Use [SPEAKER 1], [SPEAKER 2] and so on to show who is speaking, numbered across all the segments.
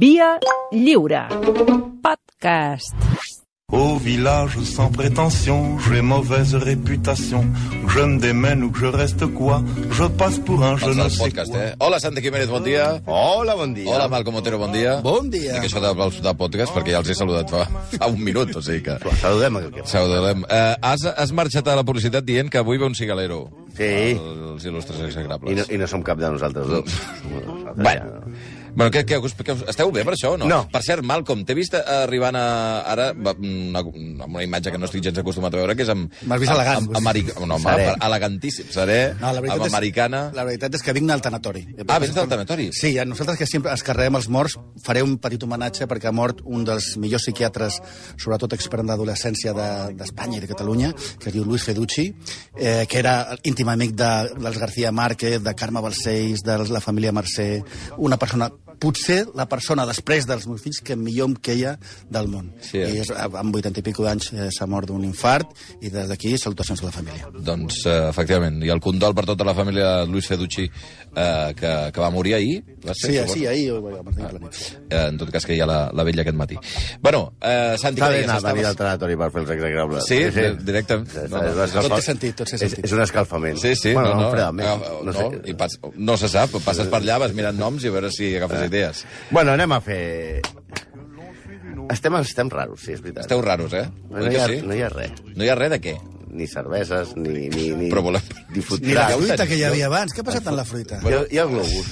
[SPEAKER 1] Via lliure. Podcast.
[SPEAKER 2] Au village sans prétention, j'ai mauvaise réputation. Que je me démène ou que je reste quoi, je passe pour un je
[SPEAKER 3] Els
[SPEAKER 2] ne
[SPEAKER 3] del
[SPEAKER 2] sais
[SPEAKER 3] podcast,
[SPEAKER 2] quoi.
[SPEAKER 3] eh? Hola, Santi Jiménez, bon dia.
[SPEAKER 4] Hola, bon dia.
[SPEAKER 3] Hola, Malcom Otero, bon dia.
[SPEAKER 4] Bon dia.
[SPEAKER 3] Dic això del del podcast perquè ja els he saludat fa, fa un minut, o sigui que...
[SPEAKER 4] Va, Saludem a aquest.
[SPEAKER 3] Saludem. Eh, has, has marxat a la publicitat dient que avui ve un cigalero.
[SPEAKER 4] Sí.
[SPEAKER 3] Els il·lustres
[SPEAKER 4] I no,
[SPEAKER 3] exagrables.
[SPEAKER 4] I no som cap de nosaltres dos. Nosaltres
[SPEAKER 3] Bueno.
[SPEAKER 4] ja
[SPEAKER 3] Bueno, què, què, us, què, us- esteu bé per això o no?
[SPEAKER 4] No.
[SPEAKER 3] Per cert, Malcolm, t'he vist eh, arribant a, ara va, una, amb una imatge que no estic gens acostumat a veure, que és amb...
[SPEAKER 5] M'has vist elegant,
[SPEAKER 3] Amb,
[SPEAKER 5] vols dir?
[SPEAKER 3] amb, ameri- no, amb,
[SPEAKER 4] Serè.
[SPEAKER 3] amb, elegantíssim, seré,
[SPEAKER 5] No, la veritat
[SPEAKER 3] amb
[SPEAKER 5] és-
[SPEAKER 3] americana...
[SPEAKER 5] La veritat és que vinc al tanatori.
[SPEAKER 3] Ah, vens del tanatori?
[SPEAKER 5] Sí, a nosaltres que sempre es carreguem els morts, faré un petit homenatge perquè ha mort un dels millors psiquiatres, sobretot expert en adolescència de- d'Espanya i de Catalunya, que es diu Luis Feducci, eh, que era íntim amic de, dels García Márquez, de Carme Balcells, de la família Mercè, una persona potser la persona, després dels meus fills, que millor em queia del món.
[SPEAKER 3] Sí, eh?
[SPEAKER 5] I és, amb 80 i pico d'anys eh, s'ha mort d'un infart i des d'aquí salutacions a la família.
[SPEAKER 3] Doncs, eh, efectivament, i el condol per tota la família de Luis Feducci, eh, que, que va morir ahir. Va
[SPEAKER 5] Sí,
[SPEAKER 3] suposo?
[SPEAKER 5] sí, ahir ho vaig planet.
[SPEAKER 3] Eh, en tot cas, que hi ha la, la vella aquest matí. Bueno, eh, Santi, què
[SPEAKER 4] Està bé
[SPEAKER 3] deies?
[SPEAKER 4] anar a venir
[SPEAKER 3] Estaves-
[SPEAKER 4] al tanatori per fer els exagrables.
[SPEAKER 3] Sí? Di- directament.
[SPEAKER 4] Sí,
[SPEAKER 3] No,
[SPEAKER 4] és
[SPEAKER 3] no,
[SPEAKER 4] un escalfa-
[SPEAKER 5] tot té sentit, tot té
[SPEAKER 4] és,
[SPEAKER 5] sentit.
[SPEAKER 4] és un escalfament.
[SPEAKER 3] Sí, sí.
[SPEAKER 4] Bueno,
[SPEAKER 3] no, no,
[SPEAKER 4] fredament,
[SPEAKER 3] agafa-
[SPEAKER 4] no
[SPEAKER 3] no,
[SPEAKER 4] sé.
[SPEAKER 3] i pas, no se sap, passes per allà, vas mirant noms i a veure si
[SPEAKER 4] Ah.
[SPEAKER 3] agafes idees.
[SPEAKER 4] Bueno, anem a fer... Estem, estem raros, sí, és veritat.
[SPEAKER 3] Esteu raros, eh?
[SPEAKER 4] No,
[SPEAKER 3] Oi
[SPEAKER 4] no, hi
[SPEAKER 3] que
[SPEAKER 4] ha,
[SPEAKER 3] sí?
[SPEAKER 4] no hi ha res.
[SPEAKER 3] no hi ha res de què.
[SPEAKER 4] Ni cerveses, ni... ni, ni
[SPEAKER 3] Però volem-
[SPEAKER 4] Ni
[SPEAKER 5] Ni
[SPEAKER 4] fotrà.
[SPEAKER 5] la fruita que hi havia abans. Què ha passat amb la fruita?
[SPEAKER 4] Hi ha, hi ha globus.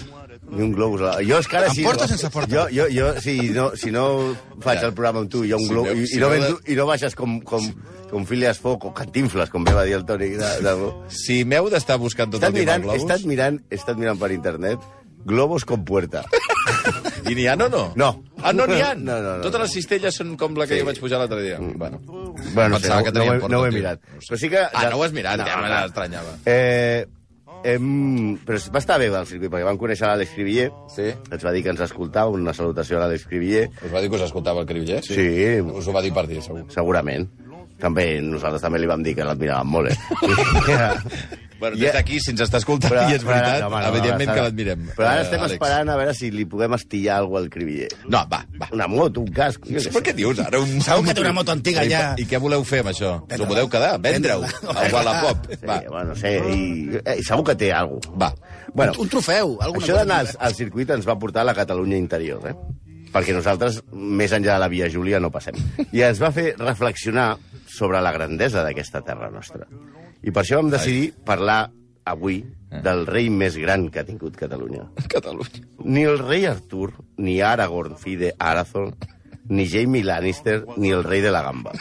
[SPEAKER 4] Ni un globus. a la- Jo és que ara
[SPEAKER 5] Amb
[SPEAKER 4] sí...
[SPEAKER 5] porta o sense porta?
[SPEAKER 4] Jo, jo, jo si, no, si no faig
[SPEAKER 3] Ja.
[SPEAKER 4] el programa amb tu, hi ha un
[SPEAKER 3] Si
[SPEAKER 4] globus...
[SPEAKER 3] no-
[SPEAKER 4] i,
[SPEAKER 3] si
[SPEAKER 4] i, no
[SPEAKER 3] no-
[SPEAKER 4] vens, I no baixes com, com, com Phileas Fogg o Cantinflas, com bé va dir el Toni. De, de...
[SPEAKER 3] Si m'heu d'estar buscant tot
[SPEAKER 4] He
[SPEAKER 3] el
[SPEAKER 4] estat
[SPEAKER 3] dia
[SPEAKER 4] mirant,
[SPEAKER 3] amb
[SPEAKER 4] he
[SPEAKER 3] globus,
[SPEAKER 4] estat mirant, he estat mirant per internet globus com puerta.
[SPEAKER 3] i n'hi ha o no?
[SPEAKER 4] No.
[SPEAKER 3] Ah, no n'hi ha?
[SPEAKER 4] No, no, no. Mm.
[SPEAKER 3] Totes les cistelles són com la que jo vaig pujar l'altre dia. Bueno.
[SPEAKER 4] Bueno, no, sé,
[SPEAKER 3] Pensava
[SPEAKER 4] no,
[SPEAKER 3] que
[SPEAKER 4] no,
[SPEAKER 3] tenien
[SPEAKER 4] ho he,
[SPEAKER 3] porta,
[SPEAKER 4] no ho he
[SPEAKER 3] tio.
[SPEAKER 4] mirat.
[SPEAKER 3] No ho sé.
[SPEAKER 4] Però sí que...
[SPEAKER 3] Ah, no ho has mirat? Ja me l'estranyava.
[SPEAKER 4] Eh, em, però va estar bé el circuit, perquè vam conèixer l'Àlex Cribiller,
[SPEAKER 3] Sí.
[SPEAKER 4] ens va dir que ens escoltava, una salutació a l'Àlex Cribiller,
[SPEAKER 3] Us va dir que us escoltava el Cribiller?
[SPEAKER 4] Sí.
[SPEAKER 3] Us ho va dir per dir, segur.
[SPEAKER 4] Segurament. També nosaltres també li vam dir que l'admiràvem molt, eh?
[SPEAKER 3] Bueno,
[SPEAKER 4] Ja.
[SPEAKER 3] des d'aquí, si ens està escoltant, i és veritat,
[SPEAKER 4] no, home, no,
[SPEAKER 3] evidentment
[SPEAKER 4] ara-
[SPEAKER 3] que l'admirem.
[SPEAKER 4] Però ara
[SPEAKER 3] eh,
[SPEAKER 4] estem
[SPEAKER 3] Àlex.
[SPEAKER 4] esperant a veure si li podem estillar alguna cosa al cribiller.
[SPEAKER 3] No, va, va.
[SPEAKER 4] Una moto, un casc... jo què
[SPEAKER 3] Per
[SPEAKER 4] sé.
[SPEAKER 3] què dius ara? Un...
[SPEAKER 5] Segur que té una moto antiga,
[SPEAKER 3] I-
[SPEAKER 5] ja.
[SPEAKER 3] I què voleu fer amb això? Us ho podeu quedar? Vendre-ho?
[SPEAKER 5] Vendre-la.
[SPEAKER 3] A Wallapop?
[SPEAKER 4] Sí,
[SPEAKER 3] Va,
[SPEAKER 4] bueno, no sé, i, eh, segur que té alguna cosa.
[SPEAKER 3] va.
[SPEAKER 4] Bueno,
[SPEAKER 5] Un trofeu, alguna
[SPEAKER 4] això d'anar al,
[SPEAKER 5] cosa.
[SPEAKER 4] al circuit ens va portar a la Catalunya interior, eh? perquè nosaltres, més enllà de la Via Júlia, no passem. I ens va fer reflexionar sobre la grandesa d'aquesta terra nostra. I per això vam decidir parlar avui
[SPEAKER 3] Eh.
[SPEAKER 4] del rei més gran que ha tingut Catalunya.
[SPEAKER 3] Catalunya.
[SPEAKER 4] Ni el rei Artur, ni Aragorn, fill de Arathorn, ni Jaime Lannister, ni el rei de la gamba.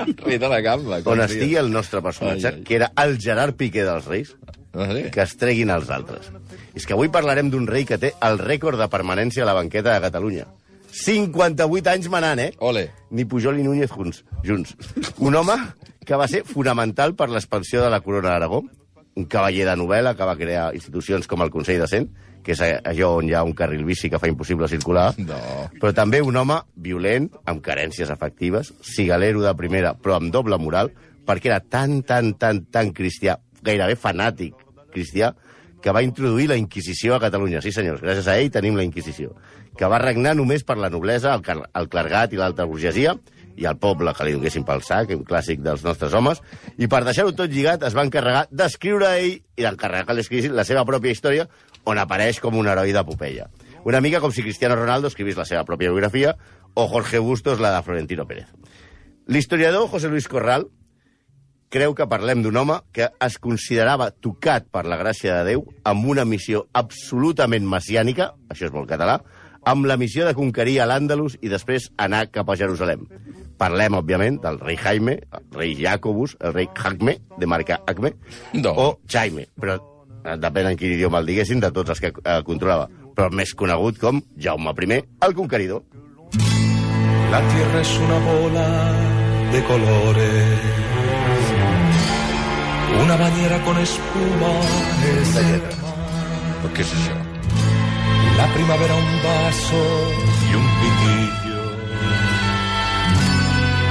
[SPEAKER 3] Doncs Rei de la gamba.
[SPEAKER 4] On
[SPEAKER 3] com
[SPEAKER 4] estigui el nostre personatge,
[SPEAKER 3] Ai, ai.
[SPEAKER 4] que era el Gerard Piqué dels reis,
[SPEAKER 3] No sé.
[SPEAKER 4] que es treguin els altres. És que avui parlarem d'un rei que té el rècord de permanència a la banqueta de Catalunya. 58 anys manant, eh?
[SPEAKER 3] Ole.
[SPEAKER 4] Ni Pujol ni Núñez junts, junts. Un home que va ser fonamental per l'expansió de la corona d'Aragó, un cavaller de novel·la que va crear institucions com el Consell de Cent, que és allò on hi ha un carril bici que fa impossible circular,
[SPEAKER 3] No.
[SPEAKER 4] però també un home violent, amb carències afectives, cigalero de primera, però amb doble moral, perquè era tan, tan, tan, tan cristià, gairebé fanàtic cristià, que va introduir la Inquisició a Catalunya. Sí, senyors, gràcies a ell tenim la Inquisició. Que va regnar només per la noblesa, el, car- el clergat i l'alta burgesia, i el poble que li donguessin pel sac, un clàssic dels nostres homes, i per deixar-ho tot lligat es va encarregar d'escriure a ell i d'encarregar que l'escrivissin la seva pròpia història, on apareix com un heroi de Popeia. Una mica com si Cristiano Ronaldo escrivís la seva pròpia biografia o Jorge Bustos la de Florentino Pérez. L'historiador José Luis Corral creu que parlem d'un home que es considerava tocat per la gràcia de Déu amb una missió absolutament messiànica, això és molt català, amb la missió de conquerir a l'Àndalus i després anar cap a Jerusalem. Parlem, òbviament, del rei Jaime, el rei Jacobus, el rei Jacme, de marca Acme,
[SPEAKER 3] No.
[SPEAKER 4] o Jaime, però eh, depèn en quin idioma el diguessin, de tots els que eh, controlava, però més conegut com Jaume I, el conqueridor.
[SPEAKER 6] La tierra es una bola de colores. Una bañera con espuma es el
[SPEAKER 3] Però què és això?
[SPEAKER 6] mar. La primavera un vaso y un pitillo.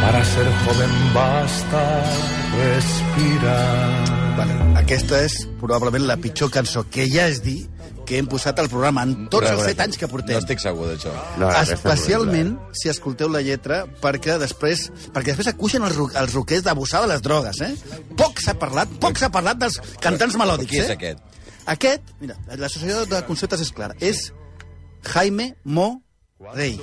[SPEAKER 6] Para ser joven basta respirar.
[SPEAKER 5] Vale, aquesta és probablement la pitjor cançó que ja es dir que hem posat al programa en tots els set anys que portem.
[SPEAKER 3] No estic segur d'això.
[SPEAKER 4] No, aquesta és
[SPEAKER 5] Especialment si escolteu la lletra, perquè després, perquè després acuixen els, ro- els roquers d'abusar de les drogues, eh? Poc s'ha parlat, poc s'ha parlat dels cantants melòdics,
[SPEAKER 3] Qui és
[SPEAKER 5] eh?
[SPEAKER 3] aquest?
[SPEAKER 5] Aquest, mira, l'associació de conceptes és clara, és Jaime Mo Rey.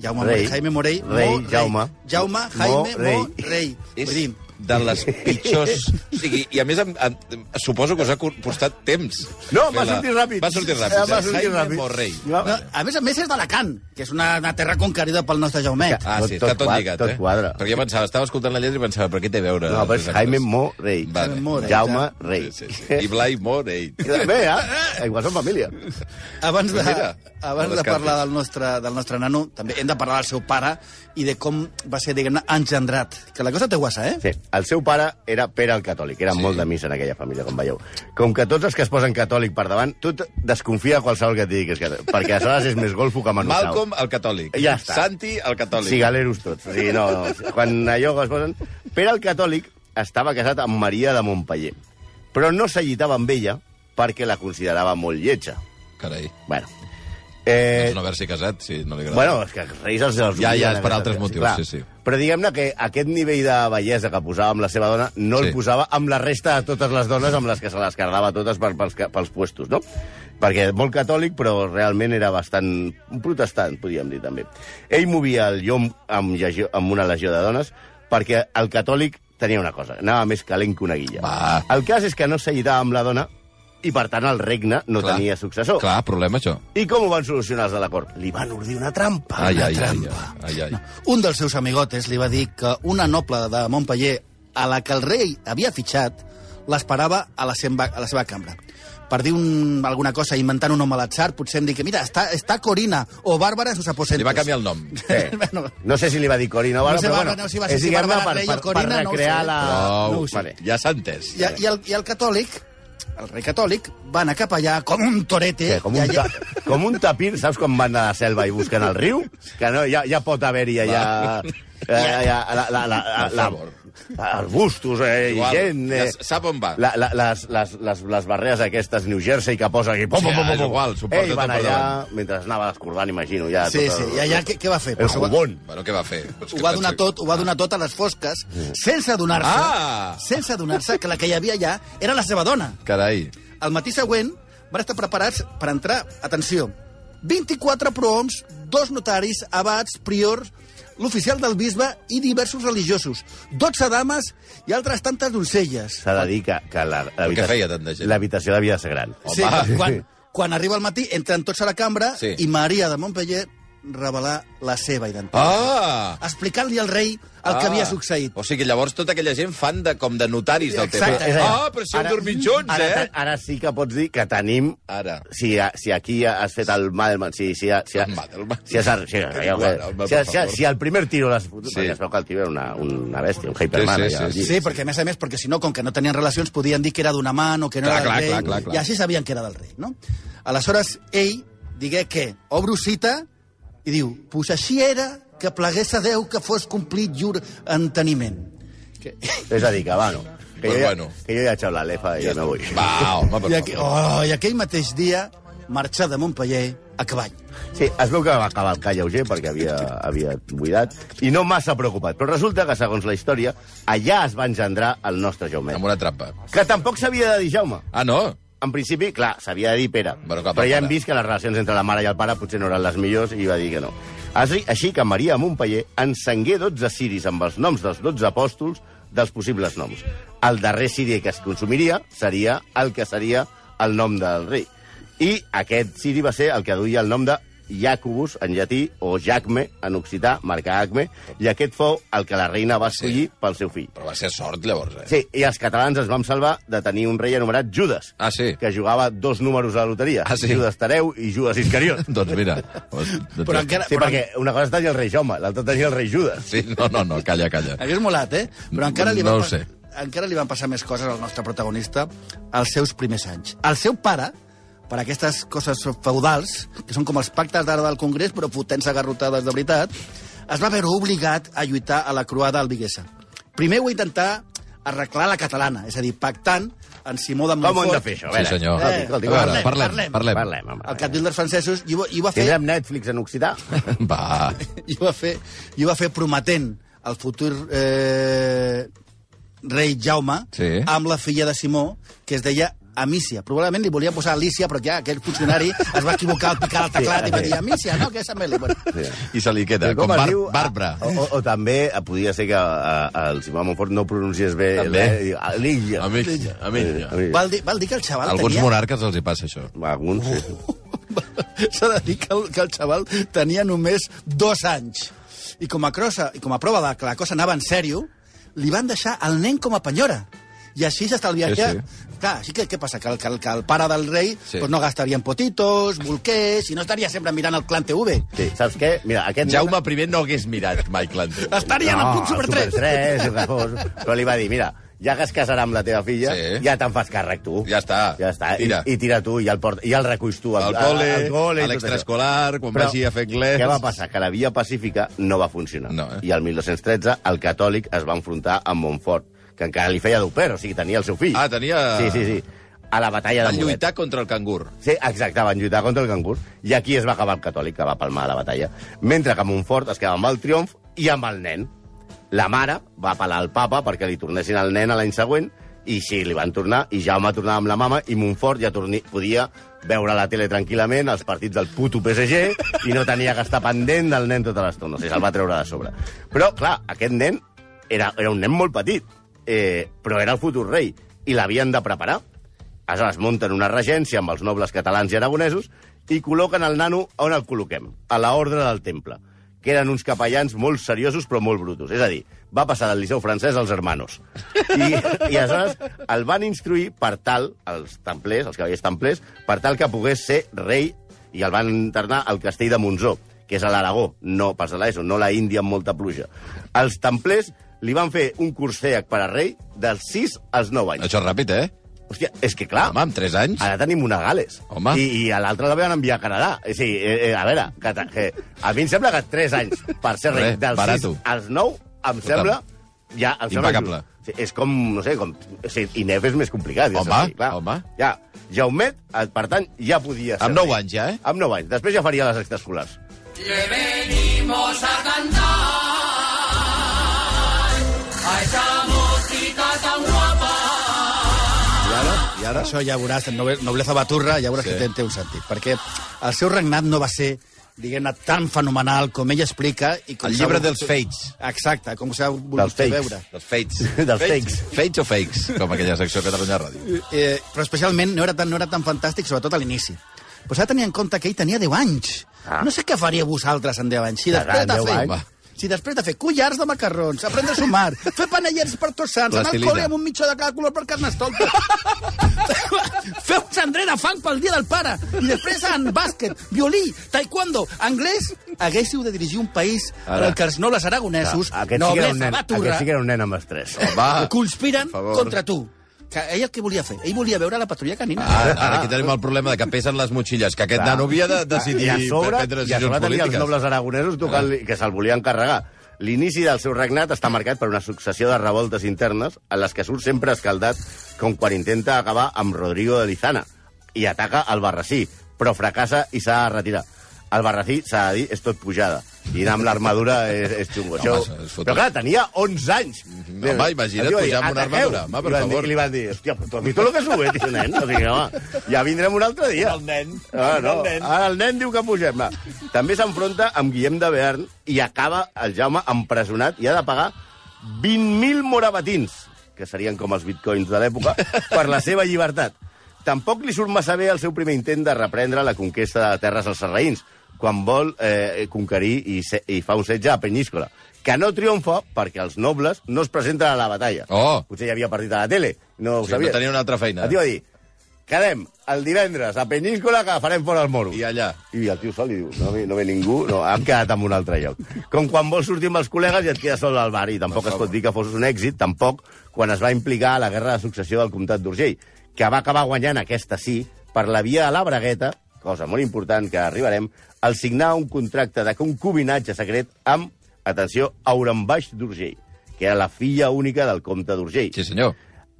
[SPEAKER 5] Jaume Rei.
[SPEAKER 4] Rey.
[SPEAKER 5] Jaime Morell. Mo
[SPEAKER 4] Rey, Jaume.
[SPEAKER 5] Jaume, Jaime
[SPEAKER 4] Mo
[SPEAKER 5] Mo Rey.
[SPEAKER 4] Rey.
[SPEAKER 5] Vull
[SPEAKER 3] És
[SPEAKER 5] dir,
[SPEAKER 3] de les pitjors... O sigui, I a més, em, em, suposo que us ha costat temps.
[SPEAKER 4] No,
[SPEAKER 3] fer
[SPEAKER 4] va sortir ràpid.
[SPEAKER 3] Va sortir ràpid.
[SPEAKER 4] Eh, va
[SPEAKER 3] eh?
[SPEAKER 4] sortir
[SPEAKER 3] Jaime
[SPEAKER 4] ràpid.
[SPEAKER 3] Borrell.
[SPEAKER 4] No,
[SPEAKER 5] no, a més a més és d'Alacant, que és una, una terra conquerida pel nostre Jaume.
[SPEAKER 3] Ah, sí, està
[SPEAKER 4] Tot- tot
[SPEAKER 3] tot
[SPEAKER 4] quadra,
[SPEAKER 3] lligat,
[SPEAKER 4] tot
[SPEAKER 3] eh?
[SPEAKER 4] quadra.
[SPEAKER 3] Perquè jo pensava, estava escoltant la lletra i pensava, però què té a veure?
[SPEAKER 4] no, però és
[SPEAKER 3] els
[SPEAKER 4] Jaime
[SPEAKER 3] altres?
[SPEAKER 4] Mo Rey.
[SPEAKER 3] Vale.
[SPEAKER 5] Jaime Mo Rey,
[SPEAKER 4] Jaume
[SPEAKER 5] ja.
[SPEAKER 4] Rey.
[SPEAKER 3] Sí, sí, sí. I Blai Morell.
[SPEAKER 4] Bé, eh? Igual són família.
[SPEAKER 5] Abans de,
[SPEAKER 3] Doncs mira,
[SPEAKER 5] abans
[SPEAKER 3] no
[SPEAKER 5] de
[SPEAKER 3] descartis.
[SPEAKER 5] parlar del nostre, del nostre nano, també hem de parlar del seu pare i de com va ser, diguem-ne, engendrat. Que la cosa té guassa, eh?
[SPEAKER 4] Sí, el seu pare era Pere el Catòlic, era
[SPEAKER 3] Sí.
[SPEAKER 4] sí. molt de missa en aquella família, com veieu. Com que tots els que es posen catòlic per davant, tu t- desconfia de qualsevol que et digui que és catòlic, perquè aleshores és més golfo que Manusau.
[SPEAKER 3] Malcolm, el catòlic.
[SPEAKER 4] Ja està.
[SPEAKER 3] Santi, el catòlic.
[SPEAKER 4] Cigaleros tots. O sigui, no, no, quan allò es posen... Pere el Catòlic estava casat amb Maria de Montpeller, però no s'allitava amb ella perquè la considerava molt lletja.
[SPEAKER 3] Carai.
[SPEAKER 4] Bueno,
[SPEAKER 3] Eh...
[SPEAKER 4] eh,
[SPEAKER 3] No haver-s'hi casat, si no li agrada.
[SPEAKER 4] bueno és que els reis els... els
[SPEAKER 3] Ja, ja, és
[SPEAKER 4] obliguen a
[SPEAKER 3] per
[SPEAKER 4] casar-se,
[SPEAKER 3] altres motius,
[SPEAKER 4] clar.
[SPEAKER 3] sí, sí.
[SPEAKER 4] Però diguem-ne que aquest nivell de bellesa que posava amb la seva dona no
[SPEAKER 3] Sí.
[SPEAKER 4] el posava amb la resta de totes les dones amb les que se les carregava totes per, pels, ca- pels puestos, no? Perquè molt catòlic, però realment era bastant un protestant, podríem dir també. Ell movia el llom amb, llegió, amb una legió de dones perquè el catòlic tenia una cosa, anava més calent que una guilla.
[SPEAKER 3] Va.
[SPEAKER 4] El cas és que no s'allitava amb la dona i, per tant, el regne no
[SPEAKER 3] Clar.
[SPEAKER 4] tenia successor.
[SPEAKER 3] Clar, problema, això.
[SPEAKER 4] I com ho van solucionar els de la cort? Li van ordir una trampa.
[SPEAKER 3] Ai,
[SPEAKER 4] una
[SPEAKER 3] ai, ai,
[SPEAKER 4] trampa.
[SPEAKER 3] ai, ai.
[SPEAKER 5] Un dels seus amigotes li va dir que una noble de Montpeller, a la que el rei havia fitxat, l'esperava a, la seva, a la seva cambra. Per dir un, alguna cosa, inventant un nom a l'atzar, potser em dir que, mira, està, està Corina o Bàrbara en sus aposentos.
[SPEAKER 3] Li va canviar el nom.
[SPEAKER 4] Eh,
[SPEAKER 5] Bueno.
[SPEAKER 4] no sé si li va dir Corina o
[SPEAKER 5] No
[SPEAKER 4] Bàrbara,
[SPEAKER 5] sé,
[SPEAKER 4] però
[SPEAKER 5] Bàrbara,
[SPEAKER 4] bueno,
[SPEAKER 5] no, si va
[SPEAKER 4] és
[SPEAKER 5] ser
[SPEAKER 4] diguem-ne
[SPEAKER 5] Bàrbara
[SPEAKER 4] per,
[SPEAKER 5] Rei o
[SPEAKER 4] per,
[SPEAKER 5] Corina,
[SPEAKER 4] per
[SPEAKER 5] no ho
[SPEAKER 4] recrear
[SPEAKER 5] sé.
[SPEAKER 4] la...
[SPEAKER 3] Au,
[SPEAKER 5] no ho sé. Eh,
[SPEAKER 4] Vale.
[SPEAKER 3] Ja s'ha entès.
[SPEAKER 5] I, i, el, I el catòlic, el rei catòlic, va anar cap allà com un torete.
[SPEAKER 4] Que com, un
[SPEAKER 5] i allà-
[SPEAKER 4] ta, com un tapir, saps quan van a la selva i busquen el riu? Que no, ja, ja pot haver-hi allà... Eh, ja, la, la, la,
[SPEAKER 3] Per
[SPEAKER 4] la,
[SPEAKER 3] favor.
[SPEAKER 4] la, arbustos, eh, i
[SPEAKER 3] Igual,
[SPEAKER 4] gent... Eh,
[SPEAKER 3] ja sap on va.
[SPEAKER 4] La, la, les, les, les, les barreres aquestes New Jersey que posa aquí... Pom,
[SPEAKER 3] Sí,
[SPEAKER 4] pom, pom,
[SPEAKER 3] és
[SPEAKER 4] pom, pom.
[SPEAKER 3] igual, s'ho porta
[SPEAKER 4] Ell
[SPEAKER 3] tot
[SPEAKER 4] van
[SPEAKER 3] per
[SPEAKER 4] allà,
[SPEAKER 3] davant.
[SPEAKER 4] mentre anava descordant, imagino, ja...
[SPEAKER 5] Sí,
[SPEAKER 4] tot
[SPEAKER 5] sí,
[SPEAKER 4] el-
[SPEAKER 5] i allà què, què va fer?
[SPEAKER 4] El
[SPEAKER 5] Pues ho va-
[SPEAKER 4] jugón.
[SPEAKER 3] Bueno, què va fer? És
[SPEAKER 5] ho
[SPEAKER 3] que
[SPEAKER 5] va
[SPEAKER 3] vaig-
[SPEAKER 5] donar tot, ho va donar tot a les fosques, sense adonar-se,
[SPEAKER 3] Ah!
[SPEAKER 5] sense adonar-se que la que hi havia allà era la seva dona.
[SPEAKER 3] Carai.
[SPEAKER 5] El matí següent van estar preparats per entrar, atenció, 24 prohoms, dos notaris, abats, priors, l'oficial del bisbe i diversos religiosos, 12 dames i altres tantes doncelles.
[SPEAKER 4] S'ha de dir que, que la- l'habitació-
[SPEAKER 3] feia tanta gent?
[SPEAKER 4] l'habitació devia ser gran.
[SPEAKER 5] Sí, quan, quan arriba al matí entren tots a la cambra
[SPEAKER 3] Sí.
[SPEAKER 5] sí. i Maria de Montpeller revelar la seva identitat.
[SPEAKER 3] Ah!
[SPEAKER 5] Explicant-li al rei el que
[SPEAKER 3] Ah.
[SPEAKER 5] havia succeït.
[SPEAKER 3] O sigui, llavors tota aquella gent fan de, com de notaris del tema.
[SPEAKER 5] Exacte.
[SPEAKER 3] Ah, però si heu dormit junts,
[SPEAKER 4] ara,
[SPEAKER 3] eh?
[SPEAKER 4] Ara sí que pots dir que tenim...
[SPEAKER 3] Ara.
[SPEAKER 4] Si, si aquí has fet el Madelman, si, si, si,
[SPEAKER 3] El Madelman.
[SPEAKER 4] si, has, si,
[SPEAKER 3] Madelman,
[SPEAKER 4] si,
[SPEAKER 3] per
[SPEAKER 4] si,
[SPEAKER 3] favor.
[SPEAKER 4] si, el primer tiro l'has fotut,
[SPEAKER 3] Sí.
[SPEAKER 4] sí. perquè es veu que el tio era una, una bèstia, un hyperman.
[SPEAKER 3] Sí, sí,
[SPEAKER 4] allà,
[SPEAKER 3] sí,
[SPEAKER 4] allí.
[SPEAKER 5] Sí, perquè a més a més, perquè si no, com que no tenien relacions, podien dir que era d'una mà o que no
[SPEAKER 3] Clar,
[SPEAKER 5] era del
[SPEAKER 3] clar,
[SPEAKER 5] rei,
[SPEAKER 3] clar, clar, clar.
[SPEAKER 5] i així sabien que era del rei, no? Aleshores, ell digué que obro cita i diu, pues així era que plegués a Déu que fos complit llur enteniment. Que...
[SPEAKER 4] És a dir, que, bueno, que,
[SPEAKER 3] Pues
[SPEAKER 4] jo, ja-
[SPEAKER 3] bueno.
[SPEAKER 4] que jo ja he eixat la lefa i ja me vull.
[SPEAKER 3] Va, home,
[SPEAKER 5] I,
[SPEAKER 3] per
[SPEAKER 5] aqu...
[SPEAKER 3] favor.
[SPEAKER 5] oh, I aquell mateix dia marxà de Montpeller a cavall.
[SPEAKER 4] Sí, es veu que va cavalcar lleuger perquè havia, havia buidat i no massa preocupat. Però resulta que, segons la història, allà es va engendrar el nostre Jaume.
[SPEAKER 3] Amb una trampa.
[SPEAKER 4] Que tampoc s'havia de dir Jaume.
[SPEAKER 3] Ah, no?
[SPEAKER 4] En principi, clar, s'havia de dir Pere.
[SPEAKER 3] Bueno, clar,
[SPEAKER 4] però ja
[SPEAKER 3] pare.
[SPEAKER 4] hem vist que les relacions entre la mare i el pare potser no eren les millors i va dir que no. Així, així que Maria de Montpeller encengué 12 ciris amb els noms dels 12 apòstols dels possibles noms. El darrer ciri que es consumiria seria el que seria el nom del rei. I aquest ciri va ser el que duia el nom de Jacobus, en llatí, o Jacme, en occità, marca Acme, i aquest fou el que la reina va escollir
[SPEAKER 3] Sí.
[SPEAKER 4] pel seu fill.
[SPEAKER 3] Però va ser sort, llavors, eh?
[SPEAKER 4] Sí, i els catalans ens vam salvar de tenir un rei anomenat Judas,
[SPEAKER 3] Ah, sí?
[SPEAKER 4] que jugava dos números a la loteria.
[SPEAKER 3] Ah, sí?
[SPEAKER 4] Judas Tareu i Judas Iscariot.
[SPEAKER 3] Doncs mira.
[SPEAKER 5] Però encara...
[SPEAKER 4] Sí, perquè una cosa és tenir el rei Jaume, l'altra tenir el rei Judas.
[SPEAKER 3] Sí, no, no, no, calla, calla.
[SPEAKER 5] Hagués molat, eh? Però encara li, van
[SPEAKER 3] No ho
[SPEAKER 5] pas-
[SPEAKER 3] sé.
[SPEAKER 5] encara li van passar més coses al nostre protagonista als seus primers anys. El seu pare, per aquestes coses feudals, que són com els pactes d'ara del Congrés, però fotent-se garrotades de veritat, es va veure obligat a lluitar a la croada albiguesa. Primer ho va intentar arreglar a la catalana, és a dir, pactant en Simó de
[SPEAKER 4] Com ho hem de
[SPEAKER 5] Montfort...
[SPEAKER 4] fer, això? A
[SPEAKER 3] Sí,
[SPEAKER 4] veure,
[SPEAKER 3] senyor.
[SPEAKER 4] escolti, escolti,
[SPEAKER 3] A veure,
[SPEAKER 4] parlem,
[SPEAKER 3] parlem, parlem.
[SPEAKER 4] Parlem, home.
[SPEAKER 5] El cap dels francesos i ho, i ho va fer...
[SPEAKER 4] Tindrem Netflix en occità?
[SPEAKER 3] Va,
[SPEAKER 5] i ho va fer, i ho va fer prometent el futur eh, rei Jaume
[SPEAKER 3] Sí.
[SPEAKER 5] amb la filla de Simó, que es deia Amícia. Probablement li volien posar Alicia, però ja aquell funcionari es va equivocar al picar el teclat i va dir Amícia, no, que és Amelie. Bueno,
[SPEAKER 3] i se li queda, com,
[SPEAKER 4] es
[SPEAKER 3] bar
[SPEAKER 4] diu?
[SPEAKER 3] Bàrbara.
[SPEAKER 4] O, o, o també eh, podia ser que eh, el Simó Montfort no pronunciés bé...
[SPEAKER 3] També.
[SPEAKER 4] eh, Alilla.
[SPEAKER 3] Amic, amic.
[SPEAKER 4] Eh,
[SPEAKER 5] val, dir, val dir que el xaval
[SPEAKER 3] Alguns
[SPEAKER 5] tenia...
[SPEAKER 3] monarques els hi passa això.
[SPEAKER 4] Alguns, sí.
[SPEAKER 5] S'ha de dir que el, que el xaval tenia només dos anys. I com a, crossa, i com a prova de que la cosa anava en sèrio, li van deixar el nen com a penyora. I així s'estalviaria...
[SPEAKER 3] Sí,
[SPEAKER 5] Sí, sí. Clar, així que què passa? Que el, que el, que el pare del rei
[SPEAKER 3] Sí.
[SPEAKER 5] sí. pues no gastaria en potitos, bolquers, i no estaria sempre mirant el Clan TV.
[SPEAKER 4] sí. Saps què? Mira, aquest...
[SPEAKER 3] Jaume I no hagués mirat Michael Andrew.
[SPEAKER 5] Estaria no, en el punt Super 3.
[SPEAKER 4] Super 3 o que fos. Però li va dir, mira, ja que es casarà amb la teva filla,
[SPEAKER 3] Sí.
[SPEAKER 4] sí. ja te'n fas càrrec tu.
[SPEAKER 3] Ja està.
[SPEAKER 4] Ja està.
[SPEAKER 3] Tira.
[SPEAKER 4] I, I tira tu, i el, port, i el reculls tu.
[SPEAKER 3] Al col·le, a
[SPEAKER 4] i tot
[SPEAKER 3] l'extraescolar, quan
[SPEAKER 4] Però
[SPEAKER 3] vagi a fer anglès...
[SPEAKER 4] Què va passar? Que la via pacífica no va funcionar.
[SPEAKER 3] No, eh?
[SPEAKER 4] I el 1213 el catòlic es va enfrontar amb Montfort, que encara li feia d'oper, o sigui, tenia el seu fill.
[SPEAKER 3] Ah, tenia-
[SPEAKER 4] Sí, sí, sí. A la batalla de
[SPEAKER 3] Van
[SPEAKER 4] Muret.
[SPEAKER 3] lluitar contra el cangur.
[SPEAKER 4] Sí, exacte, van lluitar contra el cangur. I aquí es va acabar el catòlic, que va palmar la batalla. Mentre que Montfort es quedava amb el triomf i amb el nen. La mare va apel·lar al papa perquè li tornessin el nen a l'any següent, i sí, li van tornar, i Jaume tornava amb la mama, i Montfort ja torni, podia veure la tele tranquil·lament, els partits del puto PSG, i no tenia que estar pendent del nen tota l'estona. O sigui, se'l va treure de sobre. Però, clar, aquest nen era, era un nen molt petit, eh, però era el futur rei, i l'havien de preparar. Aleshores, munten una regència amb els nobles catalans i aragonesos i col·loquen el nano on el col·loquem, a la ordre del temple, que eren uns capellans molt seriosos però molt brutos. És a dir, va passar del Liceu francès als hermanos. I, i aleshores el van instruir per tal, els templers, els cavallers templers, per tal que pogués ser rei i el van internar al castell de Monzó, que és a l'Aragó, no pas a l'ESO, no la Índia amb molta pluja. Els templers li van fer un curs CEAC per a rei dels 6 als 9 anys.
[SPEAKER 3] Això és ràpid, eh?
[SPEAKER 4] Hòstia, és que clar...
[SPEAKER 3] Home, amb 3 anys.
[SPEAKER 4] Ah. Ara tenim una a Gales.
[SPEAKER 3] Home.
[SPEAKER 4] I, i a l'altra la van enviar a Canadà. O sigui, eh, eh, a veure, que, ta- que, a mi em sembla que 3 anys per ser rei
[SPEAKER 3] Re,
[SPEAKER 4] dels
[SPEAKER 3] barato.
[SPEAKER 4] 6 als 9 em sembla... Ja, em sembla
[SPEAKER 3] Impecable.
[SPEAKER 4] just. Sí, és com, no sé, com... O sigui, INEF és més complicat. Ja
[SPEAKER 3] Home,
[SPEAKER 4] saps, sí, clar.
[SPEAKER 3] home.
[SPEAKER 4] Ja, Jaumet, eh, per tant, ja podia ser
[SPEAKER 3] Amb 9
[SPEAKER 4] rei.
[SPEAKER 3] anys, ja, eh?
[SPEAKER 4] Amb 9 anys. Després ja faria les extraescolars.
[SPEAKER 5] I ara, i ara? Això ja veuràs, en noble- nobleza baturra, ja veuràs
[SPEAKER 3] Sí.
[SPEAKER 5] sí. que té, té un sentit. Perquè el seu regnat no va ser diguem-ne, tan fenomenal com ell explica... I com
[SPEAKER 3] El
[SPEAKER 5] s'ha
[SPEAKER 3] llibre
[SPEAKER 5] volgut-
[SPEAKER 3] dels fates.
[SPEAKER 5] Exacte, com s'ha
[SPEAKER 4] Dels
[SPEAKER 5] volgut fer
[SPEAKER 4] fakes.
[SPEAKER 5] veure.
[SPEAKER 3] Dels fates.
[SPEAKER 4] Dels fakes.
[SPEAKER 3] Fates o fakes, com aquella secció de Catalunya Ràdio.
[SPEAKER 5] eh, però especialment no era tan, no era tan fantàstic, sobretot a l'inici. Però s'ha de tenir en compte que ell tenia 10 anys.
[SPEAKER 4] Ah.
[SPEAKER 5] Ah. No sé què faria vosaltres en 10 anys. Si
[SPEAKER 4] Clar,
[SPEAKER 5] després de
[SPEAKER 4] 10
[SPEAKER 5] fer...
[SPEAKER 4] anys.
[SPEAKER 5] Si després de fer collars de macarrons, aprendre a sumar, fer panellets per tots sants, anar al
[SPEAKER 3] Plastilina.
[SPEAKER 5] col·le amb un mitjó de cada color per carnestoltes, fer un cendrer de fang pel dia del pare, i després en bàsquet, violí, taekwondo, anglès, haguéssiu de dirigir un país
[SPEAKER 3] Ara.
[SPEAKER 5] en el que els nobles aragonesos,
[SPEAKER 4] Ah,
[SPEAKER 5] noblesa,
[SPEAKER 4] aquest, sí que era un nen,
[SPEAKER 5] baturra,
[SPEAKER 4] aquest sí que era un nen amb estrès.
[SPEAKER 3] Va.
[SPEAKER 5] conspiren
[SPEAKER 3] per favor.
[SPEAKER 5] contra tu. Que ell el que volia fer? Ell volia veure la patrulla canina.
[SPEAKER 3] Ara, ara aquí tenim el problema de que pesen les motxilles, que aquest
[SPEAKER 4] Clar.
[SPEAKER 3] nano havia de decidir
[SPEAKER 4] I a sobre,
[SPEAKER 3] prendre
[SPEAKER 4] i a sobre
[SPEAKER 3] decisions
[SPEAKER 4] tenia els
[SPEAKER 3] polítiques.
[SPEAKER 4] nobles aragonesos tocant que se'l volien carregar. L'inici del seu regnat està marcat per una successió de revoltes internes en les que surt sempre escaldat, com quan intenta acabar amb Rodrigo de Lizana i ataca el Barrací, però fracassa i s'ha de retirar. El Barrací, s'ha de dir, és tot pujada. I anar amb l'armadura és, és xungo. Això...
[SPEAKER 3] Home, es fot-
[SPEAKER 4] Però clar, tenia 11 anys.
[SPEAKER 3] No, home, imagina't
[SPEAKER 4] Li va dir,
[SPEAKER 3] pujar amb una
[SPEAKER 4] "Ataqueu!"
[SPEAKER 3] armadura, home, per
[SPEAKER 4] I li van dir-
[SPEAKER 3] favor.
[SPEAKER 4] I li van dir, hòstia, però tu a mi tot el que sube, tio, nen. O sigui, home, ja vindrem un altre dia.
[SPEAKER 7] El nen.
[SPEAKER 4] Ah, no.
[SPEAKER 7] El nen.
[SPEAKER 4] Ara el nen diu que pugem. Va. També s'enfronta amb Guillem de Bearn i acaba el Jaume empresonat i ha de pagar 20.000 morabatins, que serien com els bitcoins de l'època, per la seva llibertat. Tampoc li surt massa bé el seu primer intent de reprendre la conquesta de terres als serraïns, quan vol eh, conquerir i, se i fa un setge a Penyíscola, que no triomfa perquè els nobles no es presenten a la batalla.
[SPEAKER 3] Oh.
[SPEAKER 4] Potser ja havia partit a la tele, no ho
[SPEAKER 3] Sí,
[SPEAKER 4] sabia.
[SPEAKER 3] no tenia una altra feina.
[SPEAKER 4] El tio va dir, quedem el divendres a Peníscola que farem fora el moro.
[SPEAKER 3] I allà.
[SPEAKER 4] I el tio sol li diu, no, ve- no ve ningú, no, hem quedat en un altre lloc. Com quan vols sortir amb els col·legues i et quedes sol al bar, i tampoc es pot dir que fos un èxit, tampoc quan es va implicar a la guerra de successió del comtat d'Urgell, que va acabar guanyant aquesta sí, per la via de la bragueta, cosa molt important que arribarem, al signar un contracte de concubinatge secret amb, atenció, Aurembaix d'Urgell, que era la filla única del comte d'Urgell
[SPEAKER 3] Sí, senyor.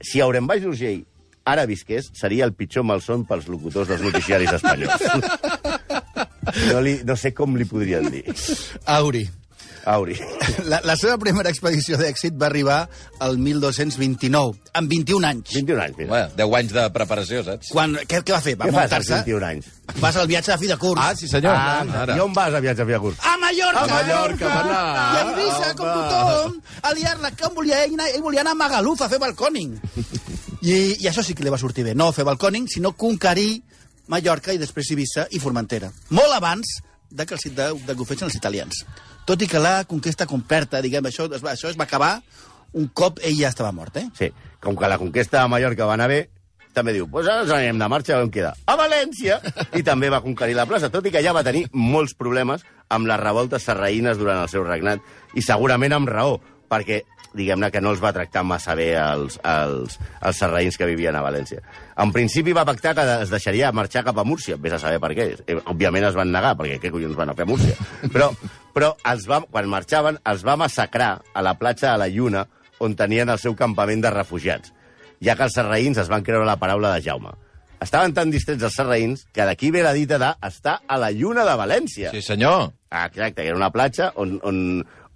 [SPEAKER 4] si Aurembaix d'Urgell ara visqués, seria el pitjor malson pels locutors dels noticiaris espanyols. No, li, no sé com li podrien dir.
[SPEAKER 5] Auri.
[SPEAKER 4] Auri.
[SPEAKER 5] La, la seva primera expedició d'èxit va arribar al 1229, amb 21 anys.
[SPEAKER 4] 21 anys, mira.
[SPEAKER 3] Bé, 10 anys de preparació, saps?
[SPEAKER 5] Quan, què, què va fer? Va
[SPEAKER 4] Què fas als
[SPEAKER 5] muntar-se...
[SPEAKER 4] 21 anys?
[SPEAKER 5] Vas al viatge de fi de curs.
[SPEAKER 3] Ah, sí senyor.
[SPEAKER 4] Ah,
[SPEAKER 3] Ara.
[SPEAKER 4] I on vas a viatge a Fiacurs?
[SPEAKER 5] A Mallorca!
[SPEAKER 4] A Mallorca, va anar.
[SPEAKER 5] I a Eivissa, com tothom, a liar-la, que volia, ell, anar- ell volia anar a Magaluf a fer balcòning. I, I això sí que li va sortir bé. No fer balcòning, sinó conquerir Mallorca i després Eivissa i Formentera. Molt abans de que els, de, de que ho fessin els italians. Tot i que la conquesta completa, diguem, això es va, això es va acabar un cop ell ja estava mort, eh?
[SPEAKER 4] Sí, com que la conquesta de Mallorca va anar bé, també diu, doncs ara ens anem de marxa, on queda? A València! I també va conquerir la plaça, tot i que ja va tenir molts problemes amb les revoltes serraïnes durant el seu regnat, i segurament amb raó, perquè diguem-ne que no els va tractar massa bé els, els, els serraïns que vivien a València. En principi va pactar que es deixaria marxar cap a Múrcia, vés a saber per què. Eh, Òbviament es van negar, perquè què collons van a fer a Múrcia? Però, però els va, quan marxaven, els va massacrar a la platja de la Lluna, on tenien el seu campament de refugiats, ja que els serraïns es van creure la paraula de Jaume. Estaven tan distrets els serraïns que d'aquí ve la dita d'estar a la lluna de València.
[SPEAKER 3] Sí senyor.
[SPEAKER 4] Ah, Exacte, que era una platja on, on,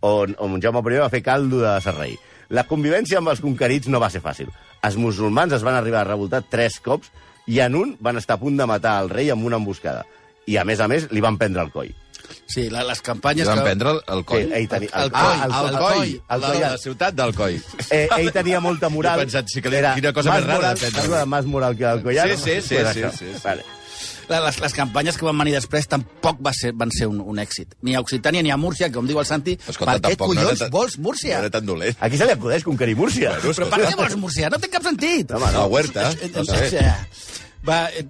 [SPEAKER 4] on, on Jaume I va fer caldo de serraí. La convivència amb els conquerits no va ser fàcil. Els musulmans es van arribar a revoltar tres cops i en un van estar a punt de matar el rei amb una emboscada. I, a més a més, li van prendre el coll.
[SPEAKER 5] Sí, la, les campanyes...
[SPEAKER 3] Li van prendre el, el coll.
[SPEAKER 4] Sí, ell tenia-
[SPEAKER 5] El
[SPEAKER 4] ah,
[SPEAKER 5] coll, el coll.
[SPEAKER 4] El
[SPEAKER 3] La,
[SPEAKER 4] coll,
[SPEAKER 3] la ciutat del coll.
[SPEAKER 4] Eh, ell tenia molta moral.
[SPEAKER 3] Jo he pensat, sí que li- quina cosa
[SPEAKER 4] más
[SPEAKER 3] més rara
[SPEAKER 4] moral,
[SPEAKER 3] de prendre.
[SPEAKER 4] Algo de más moral que el Collano.
[SPEAKER 3] Sí, sí, sí,
[SPEAKER 4] Pues
[SPEAKER 3] sí,
[SPEAKER 4] això.
[SPEAKER 3] sí, sí.
[SPEAKER 4] Vale.
[SPEAKER 5] La- Les, les campanyes que van venir després tampoc va ser, van ser un, un èxit. Ni a Occitània ni a Múrcia, que com diu el Santi,
[SPEAKER 3] Escolta,
[SPEAKER 5] per què
[SPEAKER 3] tampoc no
[SPEAKER 5] collons
[SPEAKER 3] era tan-
[SPEAKER 5] vols Múrcia?
[SPEAKER 3] No era tan dolent.
[SPEAKER 4] Aquí se li acudeix conquerir Múrcia.
[SPEAKER 5] Però per què vols Múrcia? No té cap sentit.
[SPEAKER 4] Home,
[SPEAKER 3] La huerta,
[SPEAKER 5] Eh, eh,
[SPEAKER 3] no sé.
[SPEAKER 5] eh, Va, eh,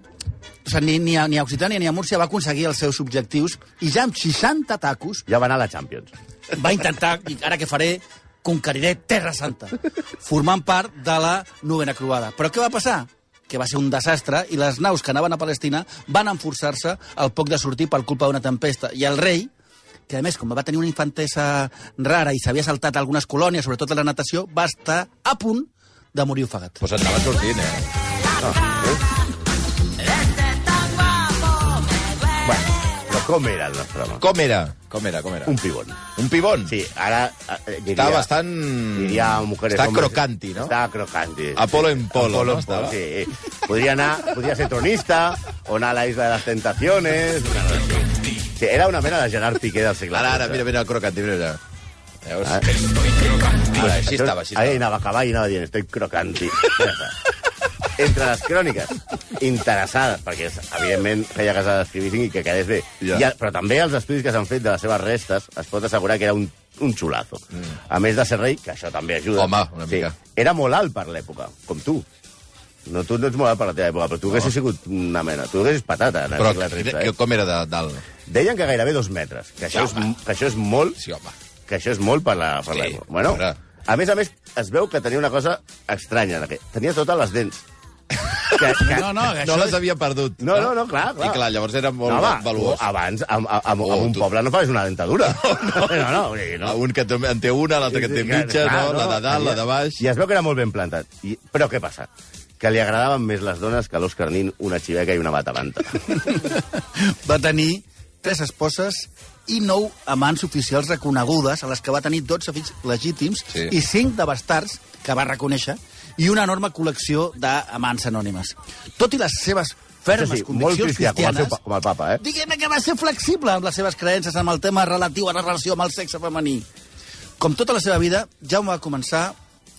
[SPEAKER 5] o sigui, ni, ni, a, ni a Occitània ni a Múrcia va aconseguir els seus objectius i ja amb 60 tacos
[SPEAKER 4] Ja va anar a la Champions.
[SPEAKER 5] va intentar, i ara que faré, conqueriré Terra Santa, formant part de la novena croada. Però què va passar? que va ser un desastre, i les naus que anaven a Palestina van enforçar-se al poc de sortir per culpa d'una tempesta. I el rei, que a més, com va tenir una infantesa rara i s'havia saltat algunes colònies, sobretot a la natació, va estar a punt de morir ofegat.
[SPEAKER 3] Pues anava sortint, eh?
[SPEAKER 4] Bueno, però com era el nostre home?
[SPEAKER 3] Com era? Com era? Com era?
[SPEAKER 4] Un pibón.
[SPEAKER 3] un pibón.
[SPEAKER 4] Sí, ara... Eh, diria,
[SPEAKER 3] Està bastant...
[SPEAKER 4] Diria mujeres...
[SPEAKER 3] Està
[SPEAKER 4] hombres.
[SPEAKER 3] crocanti, no?
[SPEAKER 4] Està crocanti.
[SPEAKER 3] Apolo en polo,
[SPEAKER 4] Apolo
[SPEAKER 3] no?
[SPEAKER 4] en polo,
[SPEAKER 3] Estava.
[SPEAKER 4] sí. Podria anar... Podria ser tronista, o anar a la Isla de les Tentaciones... Una cosa així. Sí, era una mena de Gerard Piqué del segle
[SPEAKER 3] Ara, ara,
[SPEAKER 4] XIV.
[SPEAKER 3] mira, mira el crocanti, mira, mira. Veus?
[SPEAKER 4] Ah.
[SPEAKER 3] Ara, així estava, així
[SPEAKER 4] Ahí
[SPEAKER 3] estava.
[SPEAKER 4] anava a cavall i anava dient, estoy crocanti. Ja està. Entre les cròniques interessades, perquè evidentment feia que se l'escrivissin i que quedés bé.
[SPEAKER 3] Ja.
[SPEAKER 4] Ja. I, el- però també els estudis que s'han fet de les seves restes es pot assegurar que era un, un xulazo. Mm. A més de ser rei, que això també ajuda.
[SPEAKER 3] Home, una mica.
[SPEAKER 4] Sí, era molt alt per l'època, com tu. No, tu no ets molt alt per la teva època, però tu no. haguessis sigut una mena. Tu haguessis patata. en el
[SPEAKER 3] Però
[SPEAKER 4] segle XIII, eh?
[SPEAKER 3] que- com era de dalt?
[SPEAKER 4] Deien que gairebé dos metres, que això,
[SPEAKER 3] Ja, home.
[SPEAKER 4] és, que això és molt
[SPEAKER 3] Sí, home.
[SPEAKER 4] que això és molt per la per
[SPEAKER 3] Sí,
[SPEAKER 4] sí, Bueno,
[SPEAKER 3] ara.
[SPEAKER 4] a més a més, es veu que tenia una cosa estranya. Que tenia totes les dents. Que, que...
[SPEAKER 5] No, no,
[SPEAKER 3] No les havia perdut.
[SPEAKER 4] No, no, no, clar, clar.
[SPEAKER 3] I clar, llavors era molt
[SPEAKER 4] no,
[SPEAKER 3] no,
[SPEAKER 4] Ah, home,
[SPEAKER 3] valuós.
[SPEAKER 4] tu Abans, amb, amb, amb,
[SPEAKER 3] Oh,
[SPEAKER 4] amb un
[SPEAKER 3] tu-
[SPEAKER 4] poble no faves una dentadura. No, no, no. vull dir, no.
[SPEAKER 3] Ah, Un que té- en té una, l'altre que en té mitja,
[SPEAKER 4] Clar,
[SPEAKER 3] no? La de dalt, la de baix...
[SPEAKER 4] I es veu que era molt ben plantat. I, però què passa? Que li agradaven més les dones que a l'Òscar Nin una xiveca i una batabanta.
[SPEAKER 5] va tenir tres esposes i nou amants oficials reconegudes, a les que va tenir 12 fills legítims
[SPEAKER 3] Sí.
[SPEAKER 5] sí. i 5 de bastards, que va reconèixer, i una enorme col·lecció d'amants anònimes. Tot i les seves fermes
[SPEAKER 4] sí, molt
[SPEAKER 5] conviccions
[SPEAKER 4] cristià, com el seu
[SPEAKER 5] cristianes...
[SPEAKER 4] pa- com el papa, eh?
[SPEAKER 5] Diguem que va ser flexible amb les seves creences amb el tema relatiu a la relació amb el sexe femení. Com tota la seva vida, Jaume va començar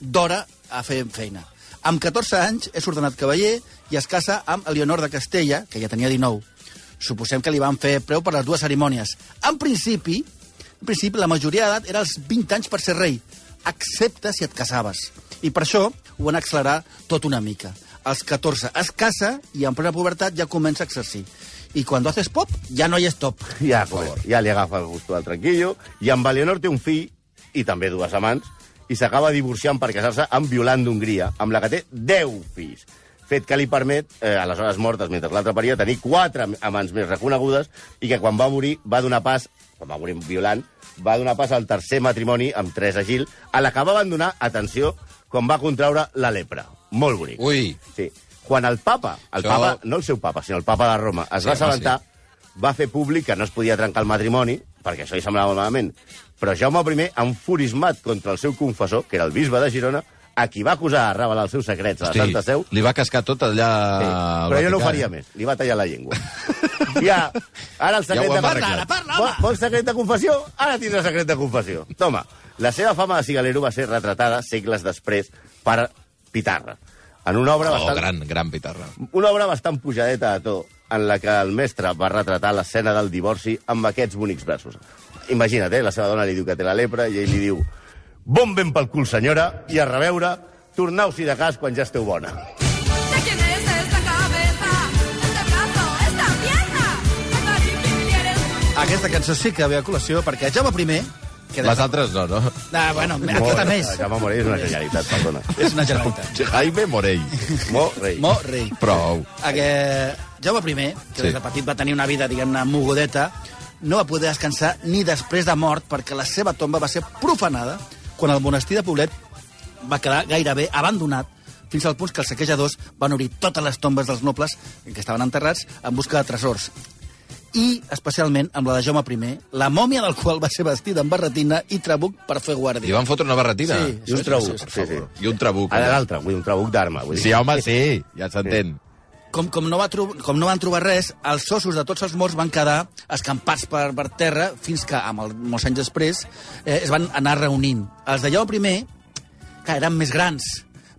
[SPEAKER 5] d'hora a fer feina. Amb 14 anys és ordenat cavaller i es casa amb Eleonor de Castella, que ja tenia 19. Suposem que li van fer preu per les dues cerimònies. En principi, en principi la majoria d'edat era els 20 anys per ser rei, excepte si et casaves. I per això ho van accelerar tot una mica. Als 14 es casa i en plena pubertat ja comença a exercir. I quan haces pop, ja no hi és top.
[SPEAKER 4] Ja, pues, ja li agafa el gusto al tranquillo. I amb Eleonor té un fill, i també dues amants, i s'acaba divorciant per casar-se amb Violant d'Hongria, amb la que té 10 fills. Fet que li permet, eh, a les hores mortes, mentre l'altre paria, tenir quatre am- amants més reconegudes i que quan va morir va donar pas, quan va morir Violant, va donar pas al tercer matrimoni amb Teresa Gil, a la que va abandonar, atenció, quan va contraure la lepra. Molt bonic.
[SPEAKER 3] Ui,
[SPEAKER 4] Sí. Quan el papa, el
[SPEAKER 3] Això-
[SPEAKER 4] papa, no el seu papa, sinó el papa de Roma, es
[SPEAKER 3] Sí, home,
[SPEAKER 4] va assabentar, va fer públic que no es podia trencar el matrimoni, perquè això li semblava molt malament. Però Jaume I, enfurismat contra el seu confessor, que era el bisbe de Girona, a qui va acusar de revelar els seus secrets a la
[SPEAKER 3] Hosti,
[SPEAKER 4] Santa Seu,
[SPEAKER 3] li va cascar tot allà...
[SPEAKER 4] Sí,
[SPEAKER 3] al
[SPEAKER 4] però jo no ho
[SPEAKER 3] Vaticà,
[SPEAKER 4] faria
[SPEAKER 3] eh?
[SPEAKER 4] més. Li va tallar la llengua. Ja, ara el secret
[SPEAKER 3] Ja ho hem
[SPEAKER 4] de...
[SPEAKER 3] arreglat.
[SPEAKER 5] Parla, parla,
[SPEAKER 4] Vol,
[SPEAKER 5] home!
[SPEAKER 4] vols secret de confessió? Ara tindrà secret de confessió. Toma, la seva fama de cigalero va ser retratada segles després per Pitarra. En una obra
[SPEAKER 3] Oh,
[SPEAKER 4] bastant...
[SPEAKER 3] gran, gran pitarra.
[SPEAKER 4] Una obra bastant pujadeta de to, en la que el mestre va retratar l'escena del divorci amb aquests bonics braços. Imagina't, eh? La seva dona li diu que té la lepra i ell li diu «Bon vent pel cul, senyora, i a reveure, torneu-s'hi de cas quan ja esteu bona».
[SPEAKER 7] ¿De quién es esta cabeza? ¿Este brazo? ¿Esta pierna? ¿Esta difícil eres tú?
[SPEAKER 5] Aquesta cançó sí que ve a col·lació perquè Jaume I... Que
[SPEAKER 3] Les altres no, no?
[SPEAKER 5] Ah, bueno, aquesta més.
[SPEAKER 4] Ja va morir, és una genialitat, perdona.
[SPEAKER 5] És una generalitat.
[SPEAKER 3] Jaime Morell.
[SPEAKER 4] Mo rei.
[SPEAKER 5] Mo rei.
[SPEAKER 3] Prou.
[SPEAKER 5] Aquest Jaume I, que
[SPEAKER 3] Sí.
[SPEAKER 5] sí. des de petit va tenir una vida, diguem-ne, mogudeta, no va poder descansar ni després de mort perquè la seva tomba va ser profanada quan el monestir de Poblet va quedar gairebé abandonat fins al punt que els saquejadors van obrir totes les tombes dels nobles en què estaven enterrats en busca de tresors i especialment amb la de Jaume I, la mòmia del qual va ser vestida amb barretina i trabuc per fer guàrdia.
[SPEAKER 3] Li van fotre una barretina.
[SPEAKER 5] Sí,
[SPEAKER 4] I un trabuc,
[SPEAKER 3] Per
[SPEAKER 4] sí, sí.
[SPEAKER 3] favor. I un trabuc.
[SPEAKER 4] A
[SPEAKER 3] allà.
[SPEAKER 4] l'altre, vull dir, un trabuc d'arma. vull dir.
[SPEAKER 3] Sí, home, sí, ja s'entén.
[SPEAKER 5] com, com, no va tro- com no van trobar res, els ossos de tots els morts van quedar escampats per, per terra fins que, amb el, molts anys després, eh, es van anar reunint. Els de Lleó primer, que eren més grans,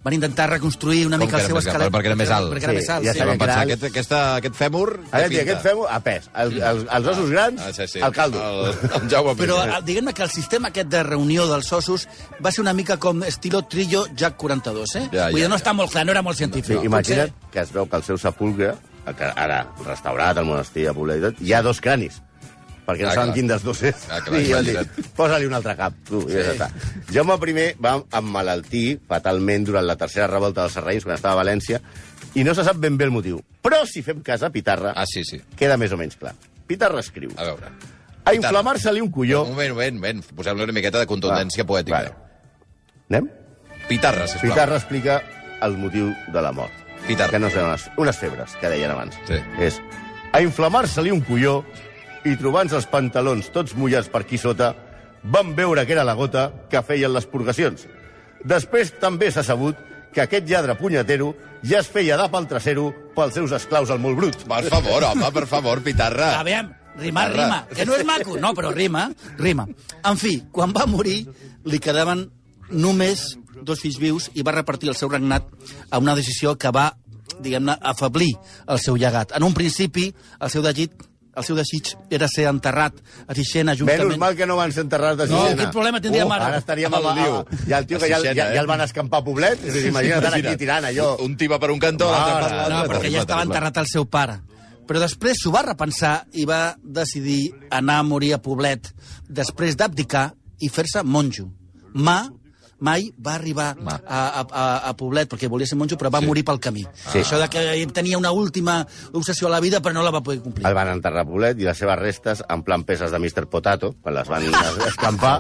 [SPEAKER 5] van intentar reconstruir una
[SPEAKER 3] Com
[SPEAKER 5] mica
[SPEAKER 3] que
[SPEAKER 5] el
[SPEAKER 3] eren
[SPEAKER 5] seu
[SPEAKER 3] més grans?
[SPEAKER 5] esquelet.
[SPEAKER 3] Perquè era més alt.
[SPEAKER 5] Perquè era
[SPEAKER 4] Sí,
[SPEAKER 5] més alt,
[SPEAKER 4] ja
[SPEAKER 5] sí.
[SPEAKER 3] Sí, van
[SPEAKER 4] Aquest
[SPEAKER 3] pensar,
[SPEAKER 4] gran-
[SPEAKER 3] aquest, aquesta, aquest fèmur...
[SPEAKER 4] A
[SPEAKER 3] té
[SPEAKER 4] veure,
[SPEAKER 3] pinta.
[SPEAKER 4] Ah, aquest fem a pes. El, els, els ossos grans,
[SPEAKER 3] Ah, sí, sí.
[SPEAKER 4] el caldo.
[SPEAKER 3] El, el Jaume I.
[SPEAKER 5] Però eh, diguem-ne que el sistema aquest de reunió dels ossos va ser una mica com estilo trillo Jack 42, eh?
[SPEAKER 3] Ja,
[SPEAKER 5] Vull
[SPEAKER 3] ja,
[SPEAKER 5] dir, no
[SPEAKER 3] ja.
[SPEAKER 5] està molt clar, no era molt científic.
[SPEAKER 4] Sí, imagina't que es veu que el seu sepulcre, el que ara restaurat al monestir de Poblet, i tot, hi ha dos cranis perquè no
[SPEAKER 3] Ah,
[SPEAKER 4] saben
[SPEAKER 3] clar.
[SPEAKER 4] quin dels dos és.
[SPEAKER 3] Ah, clar,
[SPEAKER 4] I van dir,
[SPEAKER 3] imagina't.
[SPEAKER 4] Posa-li un altre cap, tu, i ja està. Jaume I va emmalaltir fatalment durant la tercera revolta dels Serraïns, quan estava a València, i no se sap ben bé el motiu. Però si fem cas a Pitarra,
[SPEAKER 3] Ah, sí, sí.
[SPEAKER 4] queda més o menys clar. Pitarra escriu.
[SPEAKER 3] A veure.
[SPEAKER 4] A inflamar-se-li un
[SPEAKER 3] Jo...
[SPEAKER 4] colló...
[SPEAKER 3] Un moment, un moment, un moment. Posem-li una miqueta de contundència
[SPEAKER 4] Va,
[SPEAKER 3] poètica.
[SPEAKER 4] vale. Anem?
[SPEAKER 3] Pitarra, sisplau.
[SPEAKER 4] Pitarra explica el motiu de la mort.
[SPEAKER 3] Pitarra.
[SPEAKER 4] Que no eren unes, unes febres, que deien abans.
[SPEAKER 3] Sí.
[SPEAKER 4] És a inflamar-se-li un colló i trobant els pantalons tots mullats per aquí sota, van veure que era la gota que feien les purgacions. Després també s'ha sabut que aquest lladre punyetero ja es feia dar pel trasero pels seus esclaus al molt brut.
[SPEAKER 3] Per favor, home, per favor, Pitarra.
[SPEAKER 5] A veure, rimar
[SPEAKER 3] Arra.
[SPEAKER 5] rima, que no és maco, no, però rima, rima. En fi, quan va morir, li quedaven només dos fills vius i va repartir el seu regnat a una decisió que va, diguem-ne, afeblir el seu llegat. En un principi, el seu desig, el seu desig era ser enterrat a Sixena juntament...
[SPEAKER 4] Menys mal que no van ser enterrats de
[SPEAKER 5] No,
[SPEAKER 4] Sixena.
[SPEAKER 5] quin problema tindríem ara?
[SPEAKER 4] Ara estaríem
[SPEAKER 3] Amb
[SPEAKER 4] amb
[SPEAKER 3] el
[SPEAKER 4] el
[SPEAKER 3] lío.
[SPEAKER 4] I el tio que
[SPEAKER 3] A
[SPEAKER 4] ja,
[SPEAKER 3] Sixena,
[SPEAKER 4] ja, ja
[SPEAKER 3] eh?
[SPEAKER 4] el van escampar a Poblet, és a dir, imagina't ara aquí tirant allò.
[SPEAKER 3] Un tiba per un cantó, l'altre per
[SPEAKER 4] Mare,
[SPEAKER 3] l'altre.
[SPEAKER 5] No,
[SPEAKER 4] Ah,
[SPEAKER 5] perquè
[SPEAKER 3] Terrible,
[SPEAKER 5] ja estava
[SPEAKER 3] terrible.
[SPEAKER 5] enterrat el seu pare. Però després s'ho va repensar i va decidir anar a morir a Poblet, després d'abdicar i fer-se monjo. Ma mai va arribar a,
[SPEAKER 3] Ma.
[SPEAKER 5] a, a, a Poblet, perquè volia ser monjo, però va
[SPEAKER 3] Sí.
[SPEAKER 5] morir pel camí.
[SPEAKER 4] Sí.
[SPEAKER 5] Això de que tenia una última obsessió a la vida, però no la va poder complir.
[SPEAKER 4] El van enterrar a Poblet i les seves restes, en plan peces de Mr. Potato, quan les van escampar,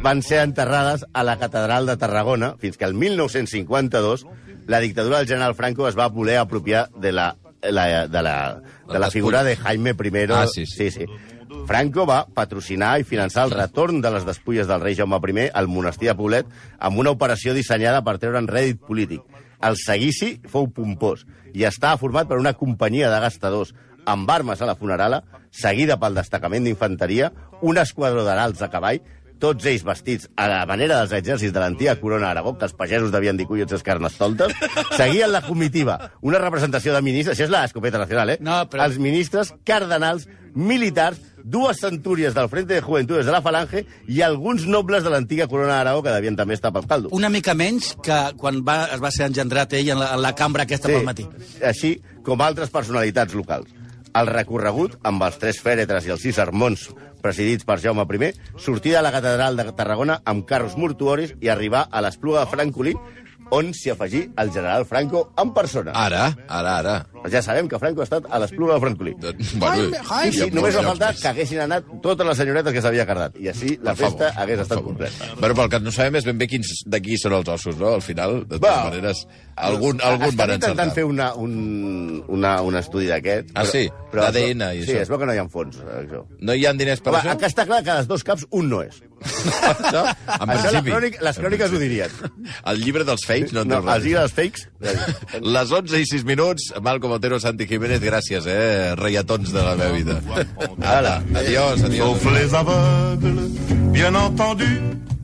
[SPEAKER 4] van ser enterrades a la catedral de Tarragona fins que el 1952 la dictadura del general Franco es va voler apropiar de la, la, de la, de la figura de Jaime I.
[SPEAKER 3] Ah, sí, sí.
[SPEAKER 4] sí, sí. Franco va patrocinar i finançar el retorn de les despulles del rei Jaume I al monestir de Poblet amb una operació dissenyada per treure en rèdit polític. El seguici fou pompós i estava format per una companyia de gastadors amb armes a la funerala, seguida pel destacament d'infanteria, un esquadró d'arals a cavall, tots ells vestits a la manera dels exèrcits de l'antiga corona Aragó, que els pagesos devien dir collons els carnestoltes, seguien la comitiva, una representació de ministres, això és l'escopeta nacional, eh?
[SPEAKER 5] No, però-
[SPEAKER 4] Els ministres, cardenals, militars, dues centúries del Frente de Juventudes de la Falange i alguns nobles de l'antiga corona d'Aragó que devien també estar pel caldo.
[SPEAKER 5] Una mica menys que quan va, es va ser engendrat ell en la, en la cambra aquesta pel matí.
[SPEAKER 4] Així com altres personalitats locals. El recorregut, amb els tres fèretres i els sis sermons presidits per Jaume I, sortir de la catedral de Tarragona amb carros mortuoris i arribar a l'Espluga de Francolí, on s'hi afegí el general Franco en persona.
[SPEAKER 5] Ah.
[SPEAKER 3] Ara, ara, ara.
[SPEAKER 4] Ja sabem que Franco ha estat a l'Espluga de Francolí.
[SPEAKER 3] Doncs, Bueno,
[SPEAKER 4] I
[SPEAKER 3] hi ha
[SPEAKER 4] sí,
[SPEAKER 3] molts
[SPEAKER 4] només va faltar
[SPEAKER 3] llocs
[SPEAKER 4] que haguessin anat totes les senyoretes que s'havia cardat. I així la
[SPEAKER 3] Per favor,
[SPEAKER 4] festa hagués
[SPEAKER 3] per
[SPEAKER 4] estat
[SPEAKER 3] favor.
[SPEAKER 4] completa.
[SPEAKER 3] Bueno, pel que no sabem és ben bé quins de qui són els ossos, no? Al final, de totes
[SPEAKER 4] Va.
[SPEAKER 3] maneres, algun, algun
[SPEAKER 4] Estan
[SPEAKER 3] van encertar.
[SPEAKER 4] intentant fer una, un, una, un estudi d'aquest.
[SPEAKER 3] Ah,
[SPEAKER 4] però-
[SPEAKER 3] sí?
[SPEAKER 4] però-
[SPEAKER 3] ADN i
[SPEAKER 4] Sí,
[SPEAKER 3] això.
[SPEAKER 4] es veu que no hi ha fons, eh, això.
[SPEAKER 3] No hi ha diners per
[SPEAKER 4] Home,
[SPEAKER 3] això?
[SPEAKER 4] que està clar que dels dos caps un no és.
[SPEAKER 3] això? En
[SPEAKER 4] Això la
[SPEAKER 3] principi.
[SPEAKER 4] crònica, les
[SPEAKER 3] En
[SPEAKER 4] cròniques ho
[SPEAKER 3] principi.
[SPEAKER 4] dirien.
[SPEAKER 3] El llibre dels fakes no en diu
[SPEAKER 4] els
[SPEAKER 3] res.
[SPEAKER 4] llibres fakes...
[SPEAKER 3] Les 11 i 6 minuts, Malcom Otero, Santi Jiménez, gràcies, eh, reiatons de la meva vida. Ara, adiós, adiós.
[SPEAKER 2] Sauf les aveugles, bien entendu.